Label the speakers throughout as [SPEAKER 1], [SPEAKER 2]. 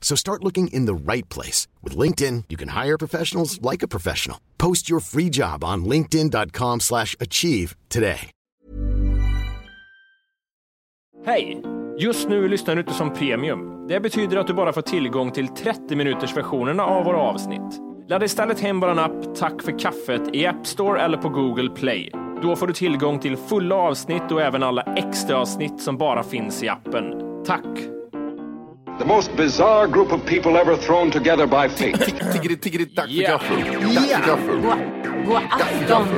[SPEAKER 1] So start looking in the right place. With LinkedIn, you can hire professionals like a professional. Post your free job on linkedin.com slash achieve today.
[SPEAKER 2] Hej! Just nu lyssnar du inte som premium. Det betyder att du bara får tillgång till 30 minuters versionerna av våra avsnitt. Ladda istället hem vår app Tack för kaffet i App Store eller på Google Play. Då får du tillgång till fulla avsnitt och även alla extra avsnitt som bara finns i appen. Tack!
[SPEAKER 3] The most bizarre group of people ever thrown together by fate.
[SPEAKER 4] Tiggeri, tiggeri, tack för
[SPEAKER 2] Yeah.
[SPEAKER 4] kaffe. Tack för kaffe.
[SPEAKER 5] God afton.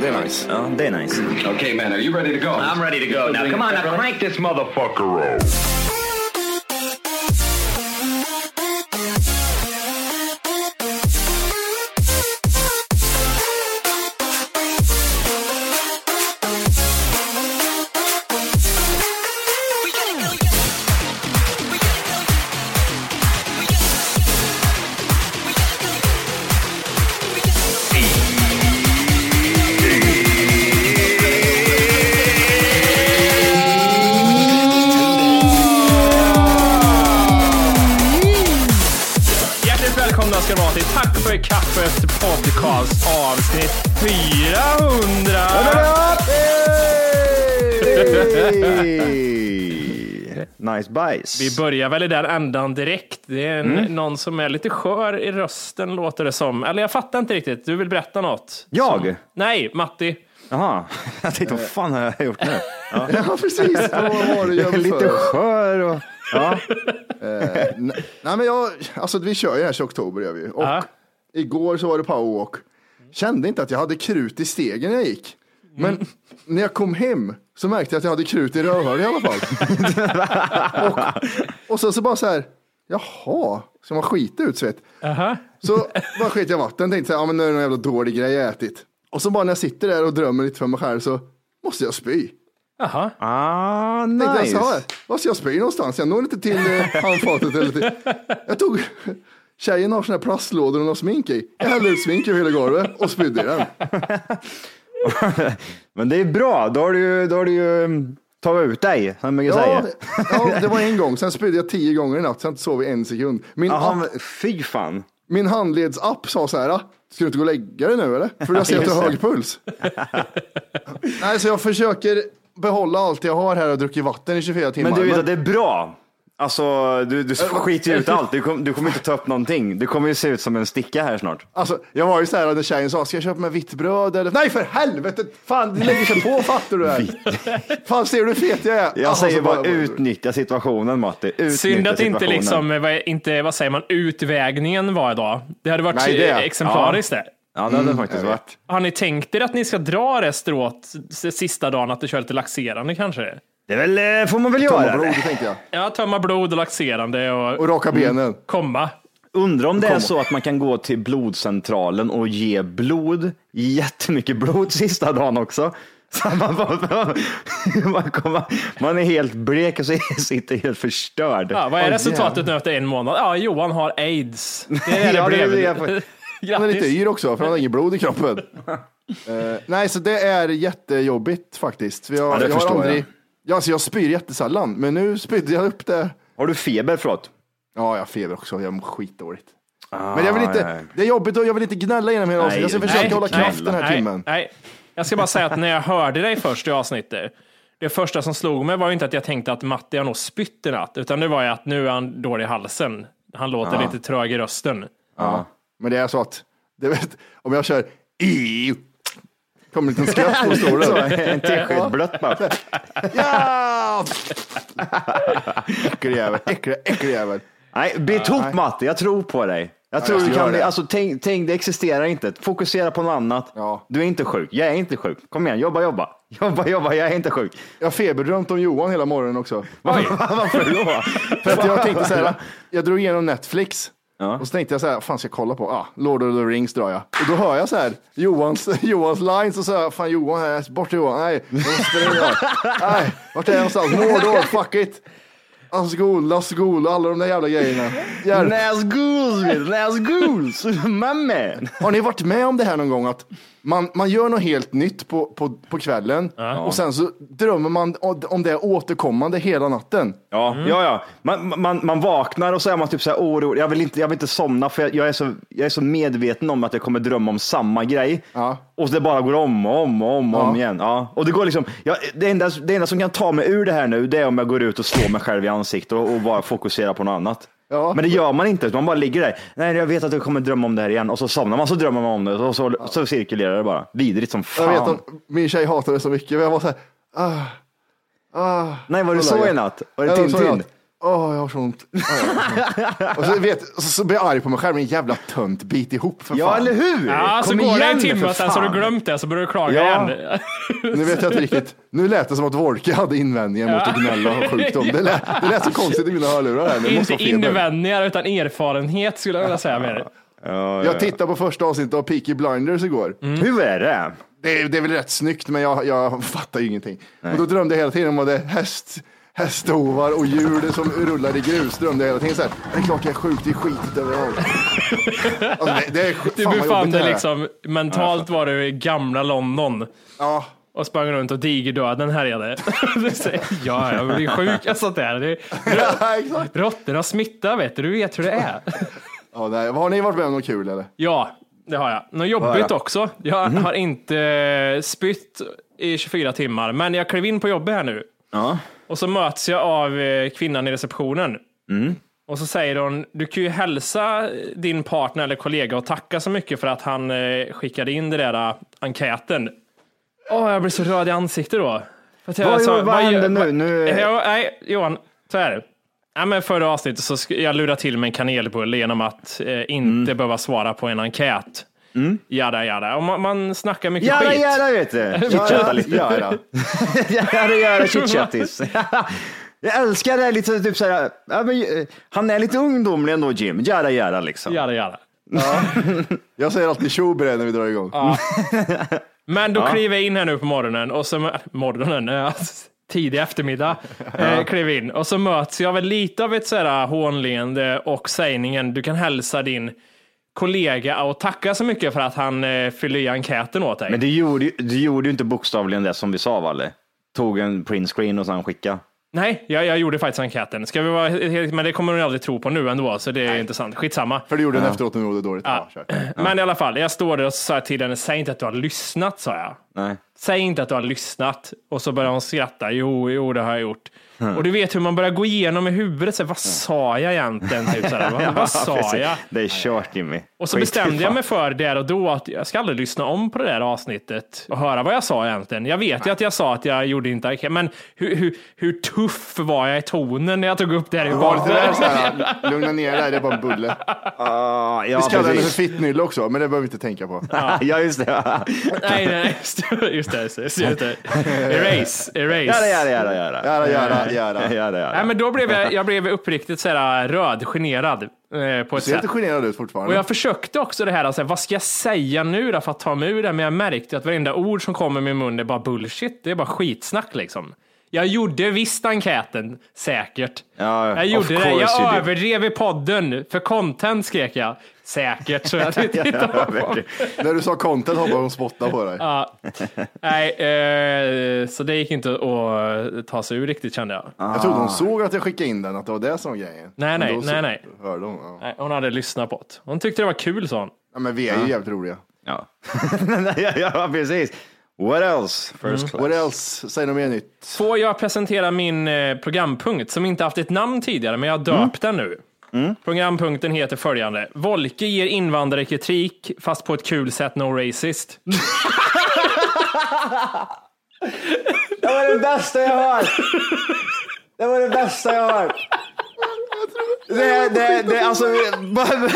[SPEAKER 4] Det är nice.
[SPEAKER 6] Ja, det är Oh, nice.
[SPEAKER 3] okay, man, are you ready to go?
[SPEAKER 6] I'm ready to go now. Come on, now crank this motherfucker up.
[SPEAKER 2] Hjärtligt välkomna ska ni vara till Tack för kaffet podcast avsnitt 400!
[SPEAKER 6] Hey! Nice bajs.
[SPEAKER 2] Vi börjar väl i den ändan direkt. Det är
[SPEAKER 6] Mm.
[SPEAKER 2] en, någon som är lite skör i rösten låter det som. Eller jag fattar inte riktigt. Du vill berätta något?
[SPEAKER 6] Jag?
[SPEAKER 2] Nej, Matti.
[SPEAKER 6] Jaha, jag tänkte vad fan har jag gjort nu?
[SPEAKER 4] Ja, precis. Vad var det jag gjorde
[SPEAKER 6] Lite
[SPEAKER 4] för?
[SPEAKER 6] skör och... Ja,
[SPEAKER 4] Nej, men jag, alltså, vi kör ju här så oktober gör vi. Och
[SPEAKER 2] Ja.
[SPEAKER 4] igår så var det powerwalk. Kände inte att jag hade krut i stegen när jag gick. Men när jag kom hem så märkte jag att jag hade krut i rövhålet i alla fall. och, och så, så bara så här, jaha, ska man skita ut svett? Så bara sket jag i vatten, tänkte så här, ja men nu är det någon jävla dålig grej jag ätit. Och så bara när jag sitter där och drömmer lite för mig själv så måste jag spy.
[SPEAKER 2] Jaha.
[SPEAKER 6] ah,
[SPEAKER 4] Tänkte jag så
[SPEAKER 6] nice.
[SPEAKER 4] här, var ska jag spy någonstans? Jag når inte till eh, handfatet. Eller till. Jag tog, tjejen har såna här plastlådor hon har smink i. Jag hällde ut smink över hela golvet och spydde i den.
[SPEAKER 6] Men det är bra, då har du ju, då har du ju mm, tagit ut dig, som jag
[SPEAKER 4] Ja,
[SPEAKER 6] säger.
[SPEAKER 4] ja, det var en gång, sen spydde jag tio gånger i natt, sen sov jag en sekund. Min,
[SPEAKER 6] Jaha,
[SPEAKER 4] app,
[SPEAKER 6] men fy fan.
[SPEAKER 4] min handledsapp sa så här, "Ah, ska du inte gå och lägga dig nu eller? För jag ser att du har hög puls. Nej, så jag försöker behålla allt jag har här och druckit vatten i 24 timmar.
[SPEAKER 6] Men du vet att det är bra. Alltså, du, du skiter ju ut allt. Du, kom, du kommer inte ta upp någonting. Du kommer ju se ut som en sticka här snart.
[SPEAKER 4] Alltså, jag var ju så här när tjejen sa, ska jag köpa med vitt bröd eller? Nej för helvete! Fan, det lägger sig på fattar du det här? Fan ser du hur fet jag är?
[SPEAKER 6] Jag
[SPEAKER 4] Alltså,
[SPEAKER 6] säger
[SPEAKER 4] så
[SPEAKER 6] bara, utnyttja situationen Matti. Utnyttja
[SPEAKER 2] Synd att inte,
[SPEAKER 6] situationen.
[SPEAKER 2] liksom, eh, vad, inte, vad säger man, utvägningen var idag. Det hade varit
[SPEAKER 6] Nej, det-
[SPEAKER 2] eh, exemplariskt det.
[SPEAKER 6] Ja, det hade
[SPEAKER 2] Mm.
[SPEAKER 6] det faktiskt varit.
[SPEAKER 2] Har ni tänkt er att ni ska dra det strået s- sista dagen, att du kör lite laxerande kanske?
[SPEAKER 6] Det är väl, eh, får man väl
[SPEAKER 4] Tomma
[SPEAKER 6] göra.
[SPEAKER 4] blod,
[SPEAKER 6] det.
[SPEAKER 4] tänkte jag.
[SPEAKER 2] Ja, tömma blod och laxerande och,
[SPEAKER 4] Och
[SPEAKER 6] Mm.
[SPEAKER 4] raka benen.
[SPEAKER 2] komma.
[SPEAKER 6] Undrar om det är så att man kan gå till blodcentralen och ge blod, jättemycket blod sista dagen också. Så att man, bara, man, kommer, man är helt blek och så sitter helt förstörd.
[SPEAKER 2] Ja, vad är
[SPEAKER 4] Åh,
[SPEAKER 2] resultatet
[SPEAKER 4] jävlar.
[SPEAKER 2] nu efter en månad? Ja, Johan har aids. Det är det
[SPEAKER 6] Ja, det är
[SPEAKER 2] brevet.
[SPEAKER 6] det jag får-
[SPEAKER 4] Han är lite
[SPEAKER 2] Grattis.
[SPEAKER 4] yr också, för han har inget blod i kroppen. Eh, nej, så det är jättejobbigt faktiskt. Jag,
[SPEAKER 6] Ja, det
[SPEAKER 4] jag har
[SPEAKER 6] förstår
[SPEAKER 4] aldrig...
[SPEAKER 6] jag.
[SPEAKER 4] Ja, alltså, jag spyr jättesällan, men nu spydde jag upp det.
[SPEAKER 6] Har du feber förlåt?
[SPEAKER 4] Ja, jag har feber också, jag mår skitdåligt. men jag vill inte,
[SPEAKER 6] ja, ja.
[SPEAKER 4] det är jobbigt och jag vill inte gnälla genom
[SPEAKER 6] Nej,
[SPEAKER 4] hela avsnittet. Jag ska
[SPEAKER 6] nej,
[SPEAKER 4] försöka hålla
[SPEAKER 6] nej,
[SPEAKER 4] kraft den här
[SPEAKER 2] nej,
[SPEAKER 4] timmen.
[SPEAKER 2] Nej, jag ska bara säga att när jag hörde dig först i avsnittet, det första som slog mig var ju inte att jag tänkte att Matti har nog spytt i natt, utan det var ju att nu är han dålig i halsen. Han låter lite trög i rösten.
[SPEAKER 4] Men det är så att det vet, om jag kör Ew. Kommer en liten skratt på
[SPEAKER 6] Så,
[SPEAKER 4] stolen.
[SPEAKER 6] en tesked blött bara.
[SPEAKER 4] Ja! Äcklig jävel, äcklig, äcklig jävel.
[SPEAKER 6] Nej, bit ihop Matti, jag tror på dig. Jag tror
[SPEAKER 4] jag
[SPEAKER 6] du
[SPEAKER 4] ska
[SPEAKER 6] kan
[SPEAKER 4] göra
[SPEAKER 6] bli,
[SPEAKER 4] det.
[SPEAKER 6] alltså, tänk, tänk, det existerar inte. Fokusera på något annat.
[SPEAKER 4] Ja.
[SPEAKER 6] Du är inte sjuk. Jag är inte sjuk. Kom igen, jobba, jobba. Jobba, jobba, jag är inte sjuk.
[SPEAKER 4] Jag har feberdrömt om Johan hela morgonen också.
[SPEAKER 6] Varför då?
[SPEAKER 4] För att jag tänkte så här, jag drog igenom Netflix.
[SPEAKER 6] Ja.
[SPEAKER 4] Och så tänkte jag så här, fan ska jag kolla på? Ah, Lord of the Rings drar jag. Och då hör jag så här, Johans, Johans lines och så här, fan Johan här, bort Johan, nej, jag måste spela in det här. nej, vart är jag någonstans? Mordor, fuck it. Asgol, Asgol, alla de där jävla grejerna. Hjälp.
[SPEAKER 6] Näsguls, näsguls, mamma.
[SPEAKER 4] Har ni varit med om det här någon gång? Att man, man gör något helt nytt på, på, på kvällen och sen så drömmer man om- om det återkommande hela natten.
[SPEAKER 6] Ja,
[SPEAKER 4] Mm.
[SPEAKER 6] ja, ja. Man, man, man vaknar och så är man typ så här orolig. Jag vill inte, jag vill inte somna för jag, jag, är så, jag är så medveten om att jag kommer drömma om samma grej.
[SPEAKER 4] Ja.
[SPEAKER 6] Och det bara går om och om och om, och om
[SPEAKER 4] Ja.
[SPEAKER 6] igen. Ja. Och det går liksom, jag, det, enda, det enda som kan ta mig ur det här nu, det är om jag går ut och slår mig själv i ansiktet och, och bara fokuserar på något annat.
[SPEAKER 4] Ja.
[SPEAKER 6] Men det gör man inte, utan man bara ligger där. Nej, jag vet att jag kommer drömma om det här igen. Och så somnar man, så drömmer man om det och så, så cirkulerar det bara. Vidrigt som fan.
[SPEAKER 4] Jag vet att min tjej hatar det så mycket, men jag var så här, ah, ah.
[SPEAKER 6] Nej, var det
[SPEAKER 4] Kolla,
[SPEAKER 6] så
[SPEAKER 4] ja.
[SPEAKER 6] i natt? Var det
[SPEAKER 4] Ja, så
[SPEAKER 6] Tintin?
[SPEAKER 4] jag- Åh, jag har så ont. Ja, jag har så ont. och så, vet, så, så blir jag arg på mig själv, min jävla tönt, bit ihop för
[SPEAKER 6] Ja,
[SPEAKER 4] fan.
[SPEAKER 6] eller hur?
[SPEAKER 2] Ja, så
[SPEAKER 6] Kom
[SPEAKER 2] går det
[SPEAKER 6] igen
[SPEAKER 2] en
[SPEAKER 6] nu,
[SPEAKER 2] timme
[SPEAKER 6] för
[SPEAKER 2] och sen så har
[SPEAKER 6] fan.
[SPEAKER 2] du glömt det så börjar du klaga
[SPEAKER 6] Ja.
[SPEAKER 2] igen.
[SPEAKER 4] Nu vet jag inte riktigt, nu lät det som att Wolke hade invändningar mot att gnälla och ha sjukdom. Det lät, det lät så konstigt i mina hörlurar. Här. Det måste
[SPEAKER 2] Inte
[SPEAKER 4] vara feber.
[SPEAKER 2] invändningar utan erfarenhet skulle jag vilja säga mer.
[SPEAKER 4] Jag tittade på första avsnittet av Peaky Blinders igår.
[SPEAKER 2] Mm.
[SPEAKER 6] Hur är det?
[SPEAKER 4] Det, är- det är väl rätt snyggt, men jag, jag fattar ju ingenting. Och då drömde jag hela tiden om att det är häst, hästhovar och djur som rullar i grus. Drömde jag hela tiden så här, det är klart jag är sjuk, det är skitigt överallt. alltså, det, det är sj-
[SPEAKER 2] Du
[SPEAKER 4] fan vad
[SPEAKER 2] befann
[SPEAKER 4] jobbigt det
[SPEAKER 2] dig
[SPEAKER 4] här är.
[SPEAKER 2] liksom, mentalt var du i gamla London
[SPEAKER 4] Ja,
[SPEAKER 2] och sprang runt och digerdöden härjade. Du säger, ja, jag blir sjuk och sånt där. Det-
[SPEAKER 4] ja exakt.
[SPEAKER 2] Råttorna smittar vet du, du vet hur det är.
[SPEAKER 4] Ja, nej. Har ni varit med om något kul eller?
[SPEAKER 2] Ja, det har jag. Något jobbigt också. Jag
[SPEAKER 6] Mhm.
[SPEAKER 2] har inte eh, spytt i 24 timmar, men jag klev in på jobbet här nu.
[SPEAKER 6] Ja.
[SPEAKER 2] Och så möts jag av eh, kvinnan i receptionen.
[SPEAKER 6] Mm.
[SPEAKER 2] Och så säger hon, du kan ju hälsa din partner eller kollega och tacka så mycket för att han eh, skickade in den där eh, enkäten. Åh, jag blir så röd i ansiktet då. För att jag
[SPEAKER 6] Vad-
[SPEAKER 2] sa,
[SPEAKER 6] vad
[SPEAKER 2] gör-
[SPEAKER 6] händer nu?
[SPEAKER 2] vad-
[SPEAKER 6] Nu-
[SPEAKER 2] Jag, nej, Johan, så här. Ja, men förra avsnittet så sk- jag lurade till mig en kanelbulle genom att eh, inte
[SPEAKER 6] Mm.
[SPEAKER 2] behöva svara på en enkät. Mm. Jada, jada. Och man, man snackar mycket
[SPEAKER 6] Jada,
[SPEAKER 2] skit.
[SPEAKER 6] jada vet du. Chitchatta lite.
[SPEAKER 4] Ja, ja.
[SPEAKER 6] Jada, jada, chitchattis. Jag älskar det här lite typ så här. Ja, men, eh, han är lite ungdomlig ändå Jim. Jada, jada liksom.
[SPEAKER 2] Jada, jada.
[SPEAKER 4] Jag säger alltid tjo bre när vi drar igång. Ja.
[SPEAKER 2] Men då kliver jag in här nu på morgonen och så mö- morgonen, eh, alltså, tidig eftermiddag, eh, kliver in och så möts jag väl lite av ett sådär hånleende och sägningen du kan hälsa din kollega och tacka så mycket för att han eh, fyller i enkäten åt dig.
[SPEAKER 6] Men du gjorde, ju- du gjorde ju inte bokstavligen det som vi sa, Valle. Tog en printscreen och sen skicka.
[SPEAKER 2] Nej, jag, jag gjorde faktiskt enkäten. Ska vi vara, helt- men det kommer hon aldrig tro på nu ändå, så det är intressant. Skitsamma.
[SPEAKER 4] För du gjorde den efteråt när vi mådde dåligt. Ja, kör.
[SPEAKER 2] Men i alla fall, jag står där och så sa jag till henne, säg inte att du har lyssnat, sa jag.
[SPEAKER 6] Nej.
[SPEAKER 2] Säg inte att du har lyssnat. Och så börjar hon skratta. Jo, jo, det har jag gjort. Och du vet hur man börjar gå igenom i huvudet. Så här, vad sa jag egentligen? Typ, så här, vad, vad sa
[SPEAKER 6] precis.
[SPEAKER 2] jag?
[SPEAKER 6] Det är kört Jimmy.
[SPEAKER 2] Och så
[SPEAKER 6] Skit i
[SPEAKER 2] bestämde jag
[SPEAKER 6] fan.
[SPEAKER 2] mig för där och då att jag ska aldrig lyssna om på det där avsnittet och höra vad jag sa egentligen. Jag vet ju att jag sa att jag gjorde inte arke- men hur, hur, hur tuff var jag i tonen när jag tog upp det här i
[SPEAKER 4] Var lite där,
[SPEAKER 2] podden?
[SPEAKER 4] så här, lugna ner dig, det är bara en bulle.
[SPEAKER 6] Ah,
[SPEAKER 4] Vi
[SPEAKER 6] ja,
[SPEAKER 4] kallar henne för
[SPEAKER 6] precis.
[SPEAKER 4] fittnylle också, men det behöver vi inte tänka på.
[SPEAKER 6] ja, just det.
[SPEAKER 2] Nej, nej, nej, just det, just det, just det, just det. Erase, erase.
[SPEAKER 6] Jada, jada, jada, jada.
[SPEAKER 4] Göra, göra,
[SPEAKER 6] Jada,
[SPEAKER 4] göra.
[SPEAKER 6] jada.
[SPEAKER 2] Nej, men då blev jag, jag blev uppriktigt så här äh, röd, generad eh, på ett
[SPEAKER 4] Ser
[SPEAKER 2] sätt.
[SPEAKER 4] inte generad ut
[SPEAKER 2] Och
[SPEAKER 4] fortfarande.
[SPEAKER 2] jag försökte också det här, alltså, vad ska jag säga nu då för att ta mig ur det? här? Men jag märkte att varenda ord som kommer i min mun är bara bullshit. Det är bara skitsnack liksom. Jag gjorde visst enkäten, säkert.
[SPEAKER 6] Ja,
[SPEAKER 2] jag
[SPEAKER 6] of
[SPEAKER 2] gjorde det.
[SPEAKER 6] course you
[SPEAKER 2] Jag
[SPEAKER 6] did.
[SPEAKER 2] överdrev i podden. För content skrek jag. Säkert. Så jag tittade inte på.
[SPEAKER 4] När du sa content hoppade hon och spottade på dig.
[SPEAKER 2] Nej, eh, så det gick inte att ta sig ur riktigt kände jag.
[SPEAKER 4] Jag trodde hon såg att jag skickade in den, att det var det som var grejen.
[SPEAKER 2] Nej,
[SPEAKER 4] Men
[SPEAKER 2] nej,
[SPEAKER 4] då så-
[SPEAKER 2] nej, nej.
[SPEAKER 4] Hörde hon. Ja.
[SPEAKER 2] Nej, Hon hade lyssnat på det. Hon tyckte det var kul sa hon.
[SPEAKER 4] Ja, men vi är ju jävligt roliga.
[SPEAKER 6] Ja. ja, ja, precis. What else?
[SPEAKER 2] Mm.
[SPEAKER 6] First class.
[SPEAKER 4] What else? Säg något mer nytt.
[SPEAKER 2] Får jag presentera min eh, programpunkt som inte haft ett namn tidigare, men jag har döpt den nu. Programpunkten heter följande. Volke ger invandrare kritik, fast på ett kul sätt, no racist.
[SPEAKER 6] Det var det bästa jag hört! Det var det bästa jag hört! Det, det, det, alltså, bara-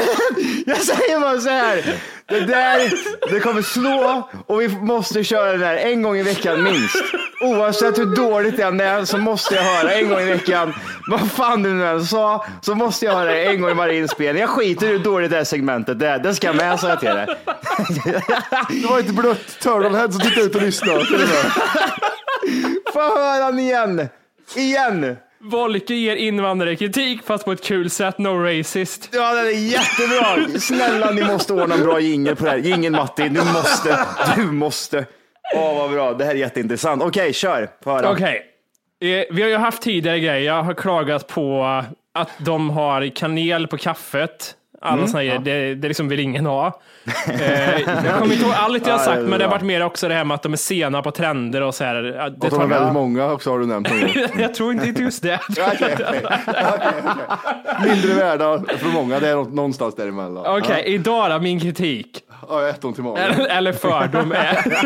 [SPEAKER 6] jag säger bara så här. Det där, det kommer slå och vi måste köra det där en gång i veckan minst. Oavsett hur dåligt det än är så måste jag höra en gång i veckan. Vad fan du nu än sa så måste jag höra det en gång i varje inspelning. Jag skiter i hur dåligt det här segmentet är. Det ska med sa jag till dig.
[SPEAKER 4] Det var ett blött turtlehead som tittade ut och lyssnade. till det där.
[SPEAKER 6] Få höra den igen. Igen.
[SPEAKER 2] Volke ger invandrare kritik, fast på ett kul sätt, no racist.
[SPEAKER 6] Ja, den är jättebra. Snälla, ni måste ordna en bra jingel på det här. Jingel Matti, du måste. Du måste. Åh, vad bra. Det här är jätteintressant. Okej, kör. Få höra.
[SPEAKER 2] Okej. Eh, Vi har ju haft tidigare grejer. Jag har klagat på att de har kanel på kaffet. Alla såna grejer. Det, det liksom vill ingen ha. Eh, jag kommer inte ihåg allt jag har
[SPEAKER 6] Ja,
[SPEAKER 2] sagt,
[SPEAKER 6] det är
[SPEAKER 2] men det
[SPEAKER 6] bra.
[SPEAKER 2] har varit mer också det här med att de är sena på trender och så här. Det
[SPEAKER 4] Och de
[SPEAKER 2] tar-
[SPEAKER 4] är väldigt många också har du nämnt någon gång.
[SPEAKER 2] jag tror inte inte just det.
[SPEAKER 4] Mindre värda för många, det är nå- någonstans däremellan.
[SPEAKER 2] Okej, idag då, min kritik.
[SPEAKER 4] Ja, jag äter ont i magen.
[SPEAKER 2] Eller, eller fördom är... jag,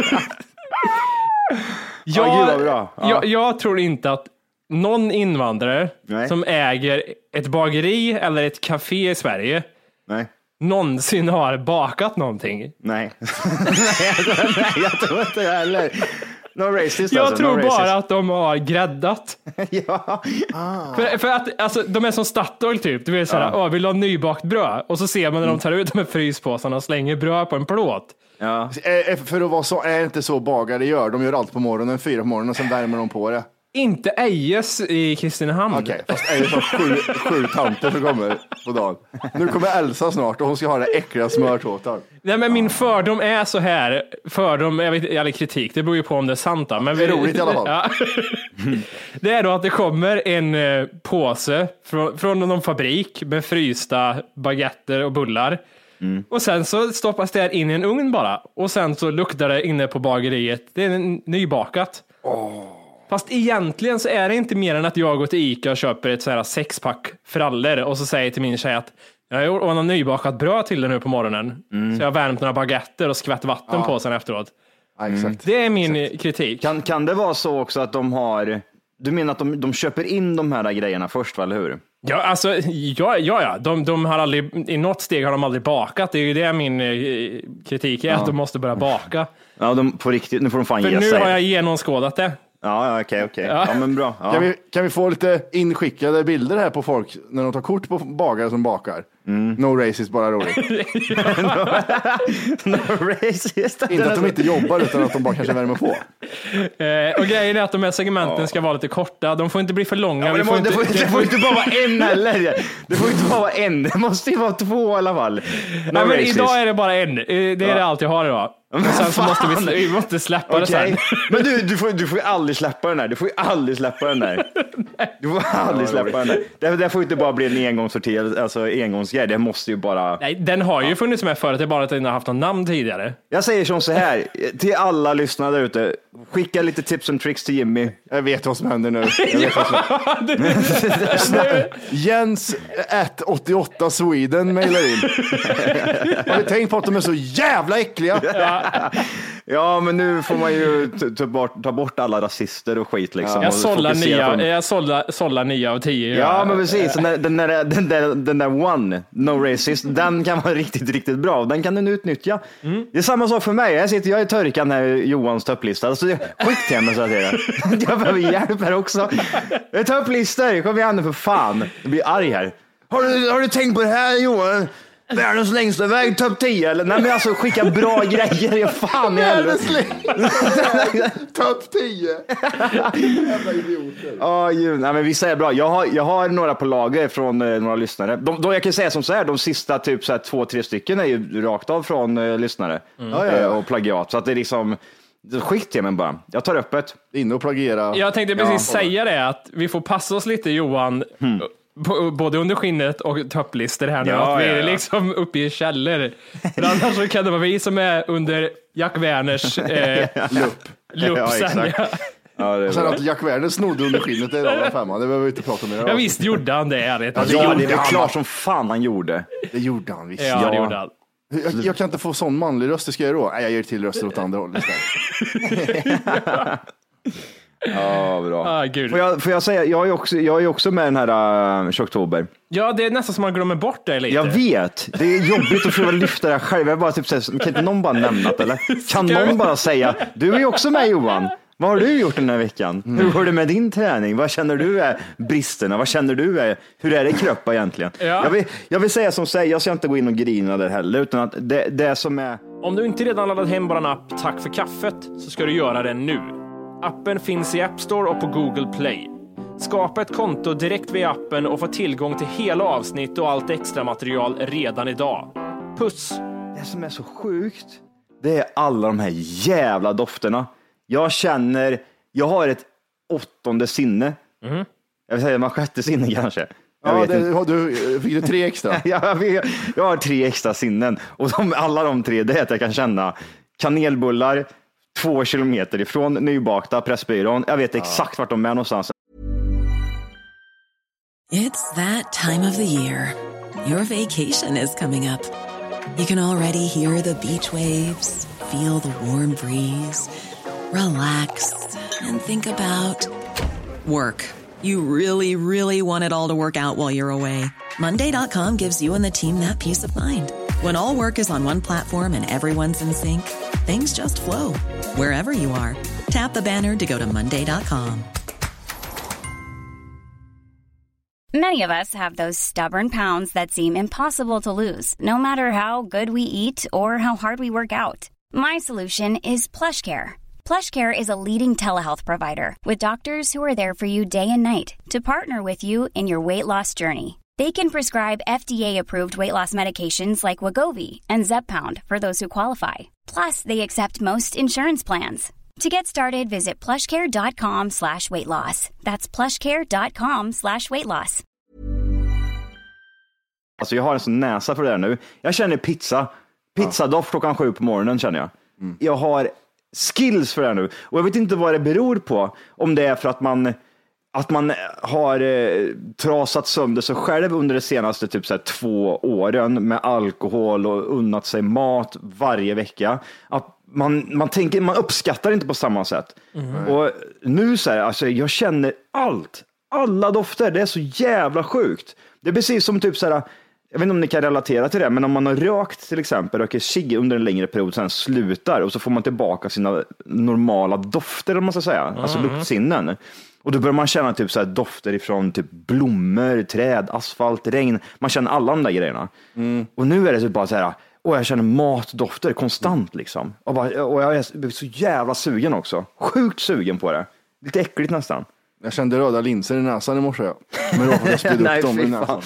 [SPEAKER 6] Ja, gud, vad bra. Ja.
[SPEAKER 2] jag, jag tror inte att någon invandrare
[SPEAKER 6] Nej.
[SPEAKER 2] som äger ett bageri eller ett café i Sverige
[SPEAKER 6] Nej.
[SPEAKER 2] någonsin har bakat någonting.
[SPEAKER 6] Nej. Nej, jag tror inte det heller. No racist
[SPEAKER 2] Jag
[SPEAKER 6] alltså.
[SPEAKER 2] tror
[SPEAKER 6] no
[SPEAKER 2] bara att de har gräddat.
[SPEAKER 6] Racist. Ja. Ah.
[SPEAKER 2] För, för att alltså, de är som Statoil typ. Du vet såhär, åh, vill du ha nybakt bröd? Och så ser man
[SPEAKER 6] Mm.
[SPEAKER 2] när de tar ut de här fryspåsarna och slänger bröd på en plåt.
[SPEAKER 6] Ja.
[SPEAKER 4] Eh, eh, För att vara så är det inte så bagare gör. De gör allt på morgonen, fyra på morgonen och sen värmer de på det.
[SPEAKER 2] Inte Ejes i Kristinehamn.
[SPEAKER 4] Okej, fast är det så sju, sju tanter som kommer på dagen. Nu kommer Elsa snart och hon ska ha den äckliga smörtårtan.
[SPEAKER 2] Nej, men min fördom är så här, fördom jag vet, eller kritik, det beror ju på om det är sant. Då. Men
[SPEAKER 4] Det är roligt i alla fall.
[SPEAKER 2] Ja. det är då att det kommer en eh, påse från, från någon fabrik med frysta baguetter och bullar.
[SPEAKER 4] Mm.
[SPEAKER 2] Och sen så stoppas det här in i en ugn bara. Och sen så luktar det inne på bageriet. Det är en- nybakat. Fast egentligen så är det inte mer än att jag går till Ica och köper ett så här sexpack frallor och så säger jag till min tjej att jag har ordnat nybakat bröd till den nu på morgonen.
[SPEAKER 6] Mm.
[SPEAKER 2] Så jag har värmt några baguetter och skvätt vatten på sen efteråt.
[SPEAKER 4] Ja, exakt.
[SPEAKER 2] Det är min kritik.
[SPEAKER 6] Kan, kan det vara så också att de har... Du menar att de, de köper in de här grejerna först, va, eller hur?
[SPEAKER 2] Ja, alltså, ja, ja, ja. De, de har aldrig, i något steg har de aldrig bakat. Det är ju det min eh, kritik är, att de måste börja baka.
[SPEAKER 6] Ja, de, på riktigt. Nu får de fan
[SPEAKER 2] För
[SPEAKER 6] ge
[SPEAKER 2] nu
[SPEAKER 6] sig.
[SPEAKER 2] har jag genomskådat det.
[SPEAKER 6] Ja, ja, okej, okej. Ja. men bra. Ja.
[SPEAKER 4] Kan vi, kan vi få lite inskickade bilder här på folk när de tar kort på bagare som bakar? No racist, bara roligt.
[SPEAKER 6] No racist.
[SPEAKER 4] Inte att de inte jobbar utan att de bara kanske värmer på.
[SPEAKER 2] Eh, och grejen är att de här segmenten ska vara lite korta. De får inte bli för långa.
[SPEAKER 6] Ja, men
[SPEAKER 2] Vi
[SPEAKER 6] det,
[SPEAKER 2] får
[SPEAKER 6] må, det,
[SPEAKER 2] inte-
[SPEAKER 6] får, det får inte bara vara en heller. Det får inte bara vara en. Det måste ju vara två i alla fall. No
[SPEAKER 2] Nej, men
[SPEAKER 6] racist.
[SPEAKER 2] idag är det bara en. Eh, Det är det allt jag har idag. Men sen så måste vi, vi måste släppa det
[SPEAKER 6] Okej.
[SPEAKER 2] sen.
[SPEAKER 6] Men du, du får, du får ju aldrig släppa den där. Du får ju aldrig släppa den där. Du får aldrig släppa den där. Det, det får ju inte bara bli en engångssorterelse, alltså engångsgrej. Det måste ju bara...
[SPEAKER 2] Nej, den har ju funnits med förut, det är bara att den inte har haft något namn tidigare.
[SPEAKER 6] Jag säger som så här till alla lyssnare där ute. Skicka lite tips and tricks till Jimmy.
[SPEAKER 4] Jag vet vad som händer nu. Jag vet vad som... Jens at 88 Sweden mejlar in. Har ni tänkt på att de är så jävla äckliga?
[SPEAKER 6] Ja, men nu får man ju ta, ta, bort, ta bort alla rasister och skit liksom.
[SPEAKER 2] Jag
[SPEAKER 6] Och
[SPEAKER 2] sållar
[SPEAKER 6] fokusera
[SPEAKER 2] nio,
[SPEAKER 6] på de-
[SPEAKER 2] eh, jag sållar, sållar nio av tio.
[SPEAKER 6] Ja, men precis. Den där, den, där, den, där, den där one, no racist,
[SPEAKER 4] Mm.
[SPEAKER 6] den kan vara riktigt, riktigt bra och den kan den utnyttja. Det är samma sak för mig. Jag sitter, jag är törkan här i Johans topplista. Alltså, jag- skit till mig så att säga. Jag behöver hjälp här också. Jag är topplistor, kom igen nu för fan. Jag blir arg här. Har du, har du tänkt på det här Johan? Världens längsta väg, topp 10 eller? Nej men alltså skicka bra grejer, jag fan i helvete.
[SPEAKER 4] Världens längsta Topp 10. Jävla idioter.
[SPEAKER 6] Ja, ju- nej, men vissa är bra. Jag har, jag har några på lager från eh, några lyssnare. De, de, jag kan säga som så här, de sista typ så här, två, tre stycken är ju rakt av från eh, lyssnare
[SPEAKER 4] Mm. Ja, ja, ja.
[SPEAKER 6] Eh, och plagiat. Så att det är liksom, skit till mig bara. Jag tar öppet.
[SPEAKER 4] Inne och plagiera.
[SPEAKER 2] Jag tänkte precis säga det, att vi får passa oss lite Johan, b- både under skinnet och topplistor här nu.
[SPEAKER 6] Hmm. Ja,
[SPEAKER 2] att vi
[SPEAKER 6] ja,
[SPEAKER 2] är
[SPEAKER 6] ja.
[SPEAKER 2] liksom uppe i källor. För annars så kan det vara vi som är under Jack Werners eh, lupp.
[SPEAKER 6] Ja,
[SPEAKER 2] sen,
[SPEAKER 6] exakt.
[SPEAKER 2] ja.
[SPEAKER 6] Ja, det är
[SPEAKER 4] Och sen
[SPEAKER 6] bra.
[SPEAKER 4] att Jack Werner snodde under skinnet, det är en annan femma. Det behöver vi inte prata mer om.
[SPEAKER 2] Ja, visst gjorde han det, ärligt. Alltså,
[SPEAKER 4] Ja,
[SPEAKER 2] Ja,
[SPEAKER 4] det
[SPEAKER 6] ja, det är
[SPEAKER 4] gjorde
[SPEAKER 6] väl
[SPEAKER 4] han.
[SPEAKER 6] klart som fan han gjorde.
[SPEAKER 4] Det gjorde han visst.
[SPEAKER 2] det gjorde han.
[SPEAKER 4] Jag, jag kan inte få sån manlig röst, det ska jag göra då? Nej, jag gör till röster åt andra hållet istället.
[SPEAKER 6] Ja, bra.
[SPEAKER 2] Ah, gud.
[SPEAKER 6] Får jag, får jag säga, jag är också, jag är också med i den här äh, Tjocktober.
[SPEAKER 2] Ja, det är nästan som man glömmer bort det lite.
[SPEAKER 6] Jag vet, det är jobbigt att försöka lyfta det här själv. Jag bara typ så här, kan inte någon bara nämna det eller? Kan någon bara säga, du är ju också med Johan. Vad har du gjort den här veckan?
[SPEAKER 4] Mm.
[SPEAKER 6] Hur går det med din träning? Vad känner du är bristerna? Vad känner du är, hur är det i Kröppa egentligen? Jag, vill, jag vill säga som säger, jag ska inte gå in och grina där heller, utan att det, det som är
[SPEAKER 7] Om du inte redan laddat hem bara en app Tack för kaffet så ska du göra det nu. Appen finns i App Store och på Google Play. Skapa ett konto direkt via appen och få tillgång till hela avsnitt och allt extra material redan idag. Puss!
[SPEAKER 6] Det som är så sjukt, det är alla de här jävla dofterna. Jag känner, jag har ett åttonde sinne. Jag vill säga man sjätte sinne kanske. Jag
[SPEAKER 4] Mm. Ja,
[SPEAKER 6] vet
[SPEAKER 4] det,
[SPEAKER 6] inte.
[SPEAKER 4] har du, fick du tre extra?
[SPEAKER 6] Jag, vet- jag har tre extra sinnen och de, alla de tre, det är att jag kan känna kanelbullar två kilometer ifrån nybakta Pressbyrån. Jag vet exakt vart de är någonstans.
[SPEAKER 8] It's that time of the year. Your vacation is coming up. You can already hear the beach waves, feel the warm breeze, relax, and think about work. You really, really want it all to work out while you're away. Monday.com gives you and the team that peace of mind. When all work is on one platform and everyone's in sync, things just flow wherever you are. Tap the banner to go to Monday.com.
[SPEAKER 9] Many of us have those stubborn pounds that seem impossible to lose, no matter how good we eat or how hard we work out. My solution is PlushCare. PlushCare is a leading telehealth provider with doctors who are there for you day and night to partner with you in your weight loss journey. They can prescribe FDA-approved weight loss medications like Wagovi and Zepbound for those who qualify. Plus, they accept most insurance plans. To get started, visit plushcare.com slash weight loss. That's plushcare.com slash weight loss.
[SPEAKER 6] Alltså jag har en sån näsa för det där nu. Jag känner pizza. Pizzadoft klockan sju på morgonen känner jag. Jag har skills för det här nu. Och jag vet inte vad det beror på. Om det är för att man, att man har eh, trasat sönder sig själv under de senaste typ så här, två åren med alkohol och unnat sig mat varje vecka. Att man, man, tänker, man uppskattar inte på samma sätt. Och nu så här, alltså, jag känner allt. Alla dofter, det är så jävla sjukt. Det är precis som typ så här, jag vet inte om ni kan relatera till det, men om man har rökt till exempel, röker cigg under en längre period, sen slutar och så får man tillbaka sina normala dofter, eller vad man ska säga, alltså luktsinnen. Och då börjar man känna typ så här dofter ifrån typ blommor, träd, asfalt, regn. Man känner alla de där grejerna. Och nu är det typ bara så här, och jag känner matdofter konstant liksom. Och, bara, och jag är så jävla sugen också. Sjukt sugen på det. Lite äckligt nästan.
[SPEAKER 4] Jag kände röda linser i näsan i morse. ja. Men då får jag spydde
[SPEAKER 6] Nej,
[SPEAKER 4] upp dem i
[SPEAKER 6] fy
[SPEAKER 4] näsan.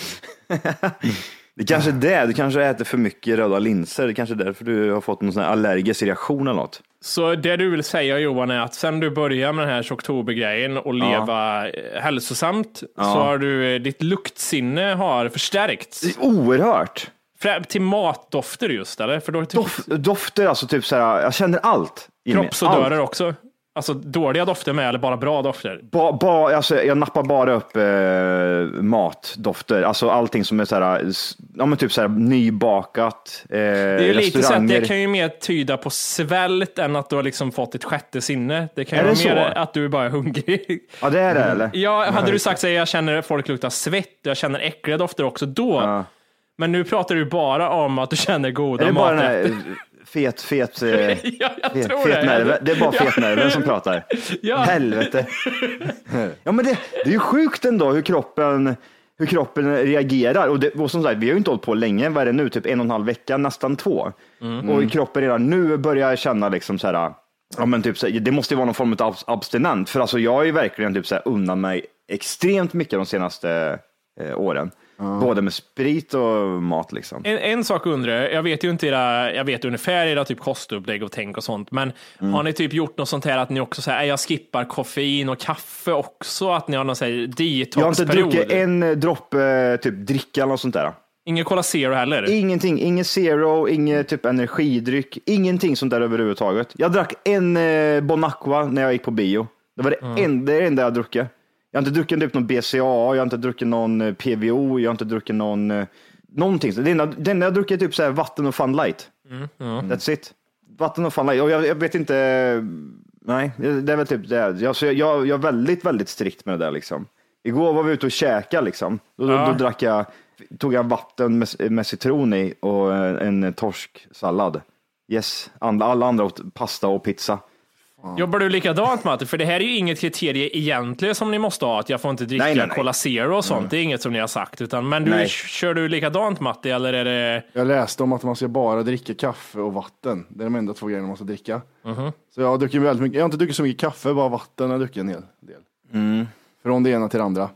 [SPEAKER 6] fan. Det kanske är det, du kanske äter för mycket röda linser. Det kanske är därför du har fått någon sån här allergisk reaktion eller något.
[SPEAKER 2] Så det du vill säga Johan är att sen du började med den här tjocktobergrejen och leva eh, hälsosamt så har du, eh, ditt luktsinne har förstärkts.
[SPEAKER 6] Det är Oerhört.
[SPEAKER 2] Frä- Till matdofter just eller? För då typ
[SPEAKER 6] Dof, dofter, alltså typ så här, jag känner allt. i mig.
[SPEAKER 2] kroppsodörer
[SPEAKER 6] Allt.
[SPEAKER 2] också. Alltså dåliga dofter med eller bara bra dofter?
[SPEAKER 6] Ba, ba, alltså, jag nappar bara upp eh, matdofter, alltså allting som är så här, s- ja men typ så här nybakat, eh,
[SPEAKER 2] Det är ju lite så att
[SPEAKER 6] restauranger.
[SPEAKER 2] det kan ju mer tyda på svält än att du har liksom fått ett sjätte sinne. Det kan ju
[SPEAKER 6] Är
[SPEAKER 2] vara
[SPEAKER 6] det
[SPEAKER 2] mer
[SPEAKER 6] så?
[SPEAKER 2] att du bara är hungrig.
[SPEAKER 6] Ja det är det eller?
[SPEAKER 2] Ja, hade du sagt så här, jag känner att folk luktar svett, jag känner äckliga dofter också då.
[SPEAKER 6] Ja.
[SPEAKER 2] Men nu pratar du bara om att du känner
[SPEAKER 6] Är
[SPEAKER 2] goda
[SPEAKER 6] det bara den
[SPEAKER 2] maträtter.
[SPEAKER 6] här fet, fet, eh,
[SPEAKER 2] Ja, jag
[SPEAKER 6] fet,
[SPEAKER 2] tror det.
[SPEAKER 6] fetnerven? Det är bara fetnerven som pratar.
[SPEAKER 2] Ja.
[SPEAKER 6] Helvete. Ja, men det, det är ju sjukt ändå hur kroppen, hur kroppen reagerar. Och, det, och som sagt, vi har ju inte hållit på länge. Vad är det nu? Typ en och en halv vecka, nästan två.
[SPEAKER 2] Mm.
[SPEAKER 6] Och kroppen redan nu börjar känna liksom så här, ja, men typ så här, det måste ju vara någon form av abs- abstinent. För alltså, jag har ju verkligen typ så här, unnat mig extremt mycket de senaste eh, åren. Både med sprit och mat liksom.
[SPEAKER 2] En, en sak undrar jag, jag vet ju inte era, jag vet ungefär era typ kostupplägg och tänk och sånt, men
[SPEAKER 6] Mm.
[SPEAKER 2] har ni typ gjort något sånt här att ni också säger, jag skippar koffein och kaffe också, att ni har någon sån här
[SPEAKER 6] Jag har inte
[SPEAKER 2] detoxperiod?
[SPEAKER 6] druckit en eh, droppe eh, typ dricka eller något sånt där.
[SPEAKER 2] Ingen Cola Zero heller?
[SPEAKER 6] Ingenting, ingen zero, ingen typ energidryck, ingenting sånt där överhuvudtaget. Jag drack en eh, Bonacqua när jag gick på bio. Det var det, en, det är det enda jag har druckit. Jag har inte druckit typ någon BCAA, jag har inte druckit någon eh, PVO, jag har inte druckit någon, eh, någonting. Det enda, det enda jag har druckit är typ så här vatten och Fun Light. That's it. Vatten och Fun Light. Och jag, jag vet inte, nej, det det är väl typ det. Jag, så jag, jag, jag är väldigt, väldigt strikt med det där liksom. Igår var vi ute och käkade liksom. Då, då, då drack jag, tog jag vatten med, med citron i och eh, en torsksallad. Yes, And- alla andra åt pasta och pizza.
[SPEAKER 2] Jobbar du likadant Matte? För det här är ju inget kriterie egentligen som ni måste ha, att jag får inte dricka
[SPEAKER 6] Nej, nej, nej.
[SPEAKER 2] Cola Zero och sånt. Det är inget som ni har sagt, utan, men du,
[SPEAKER 6] Nej.
[SPEAKER 2] kör du likadant Matte, eller är det
[SPEAKER 4] Jag läste om att man ska bara dricka kaffe och vatten. Det är de enda två grejerna man ska dricka.
[SPEAKER 6] Mhm.
[SPEAKER 4] Så jag har druckit väldigt mycket. Jag har inte druckit så mycket kaffe, bara vatten har jag druckit en hel del. Från det ena till det andra.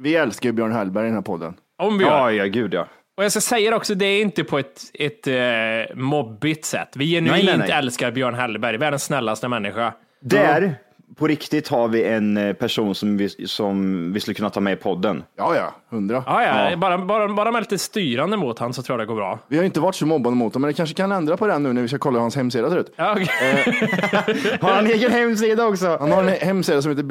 [SPEAKER 4] Vi älskar ju Björn Hellberg i den här podden.
[SPEAKER 2] om vi gör?
[SPEAKER 6] Ja, ja, gud ja.
[SPEAKER 2] Och jag ska säga det också, det är inte på ett, ett eh, mobbigt sätt. Vi
[SPEAKER 6] Nej,
[SPEAKER 2] genuint
[SPEAKER 6] nej, nej.
[SPEAKER 2] älskar Björn Hellberg, världens snällaste människa.
[SPEAKER 6] Där, på riktigt, har vi en eh, person som vi, som vi skulle kunna ta med i podden.
[SPEAKER 4] Ja, ja, hundra.
[SPEAKER 2] Ja, ja, Bara, bara, bara med lite styrande mot han så tror jag det går bra.
[SPEAKER 4] Vi har inte varit så mobbande mot honom, men det kanske kan ändra på det här nu när vi ska kolla hur hans hemsida ser ut.
[SPEAKER 2] Ja, okej.
[SPEAKER 6] Har han egen hemsida också?
[SPEAKER 4] Han har en hemsida som heter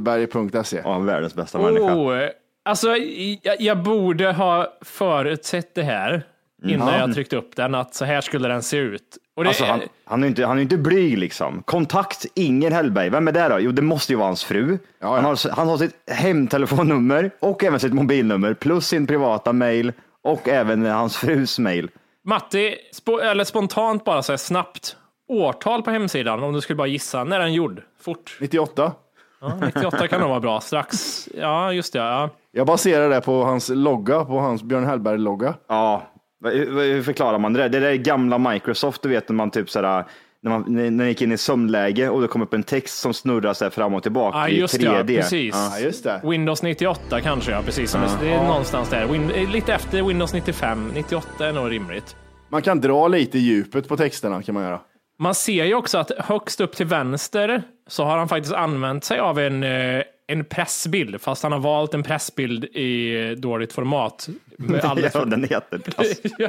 [SPEAKER 4] björnhellberg.se.
[SPEAKER 6] Ja, världens bästa människa.
[SPEAKER 2] Oh, eh, alltså, jag, jag borde ha förutsett det här innan jag tryckte upp den, att så här skulle den se ut. Och det, eh,
[SPEAKER 6] Alltså, han, han, är ju inte, han är ju inte blyg liksom. Kontakt Inger Hellberg. Vem är det då? Jo, det måste ju vara hans fru.
[SPEAKER 4] ja.
[SPEAKER 6] Han, har, han har sitt hemtelefonnummer och även sitt mobilnummer plus sin privata mail och även hans frus mail.
[SPEAKER 2] Matti, spo, eller spontant bara så här snabbt, årtal på hemsidan om du skulle bara gissa. När är den gjord? Fort.
[SPEAKER 4] 98.
[SPEAKER 2] Ja, 98 kan nog vara bra. Strax. Ja, just det. Ja.
[SPEAKER 4] Jag baserar det på hans logga, på hans Björn Hellberg-logga.
[SPEAKER 6] Ja, vad- hur hur förklarar man det där? Det där är gamla Microsoft, du vet när man typ sådär, när man, när när jag gick in i sömnläge och det kom upp en text som snurrar så här fram och tillbaka
[SPEAKER 2] Ja,
[SPEAKER 6] i
[SPEAKER 2] just det. Ja,
[SPEAKER 6] 3D.
[SPEAKER 2] precis.
[SPEAKER 4] Ja, just det.
[SPEAKER 2] Windows 98 kanske, ja. Precis. Som det, det är någonstans där. Win, eh, lite efter Windows 95. 98 är nog rimligt.
[SPEAKER 4] Man kan dra lite i djupet på texterna kan man göra.
[SPEAKER 2] Man ser ju också att högst upp till vänster så har han faktiskt använt sig av en, eh, en pressbild, fast han har valt en pressbild i eh, dåligt format. Med alldeles
[SPEAKER 6] Ja,
[SPEAKER 2] för...
[SPEAKER 6] den heter plast.
[SPEAKER 2] ja.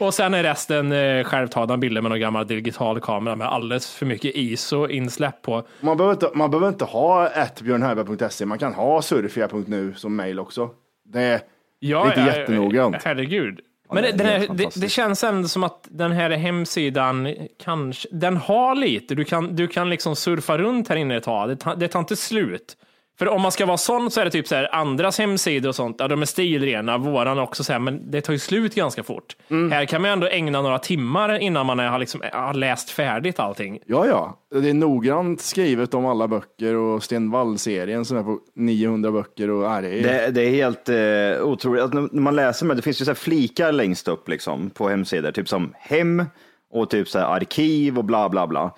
[SPEAKER 2] Och sen är resten eh, självtagna bilder med någon gammal digital kamera med alldeles för mycket ISO-insläpp på.
[SPEAKER 4] Man behöver inte, man behöver inte ha ett björnhellberg.se, man kan ha surfia.nu som mejl också. Det är,
[SPEAKER 2] Ja,
[SPEAKER 4] Inte jättenoggrant.
[SPEAKER 2] Herregud. Men
[SPEAKER 6] det
[SPEAKER 2] det,
[SPEAKER 6] är
[SPEAKER 2] den här,
[SPEAKER 6] helt
[SPEAKER 2] det,
[SPEAKER 6] fantastiskt.
[SPEAKER 2] det känns ändå som att den här hemsidan kanske, den har lite, du kan, du kan liksom surfa runt här inne ett tag, det, tar- det tar inte slut. För om man ska vara sån så är det typ så här, andras hemsidor och sånt, ja de är stilrena, våran också så här, men det tar ju slut ganska fort.
[SPEAKER 6] Mm.
[SPEAKER 2] Här kan man ju ändå ägna några timmar innan man är, har, liksom, har läst färdigt allting.
[SPEAKER 4] ja, ja, det är noggrant skrivet om alla böcker och Sten Wall-serien som är på 900 böcker och är det, är-
[SPEAKER 6] Det, det är helt eh, otroligt. Att när när man läser med, det finns ju så här flikar längst upp liksom, på hemsidor, typ som hem och typ så här arkiv och bla bla bla.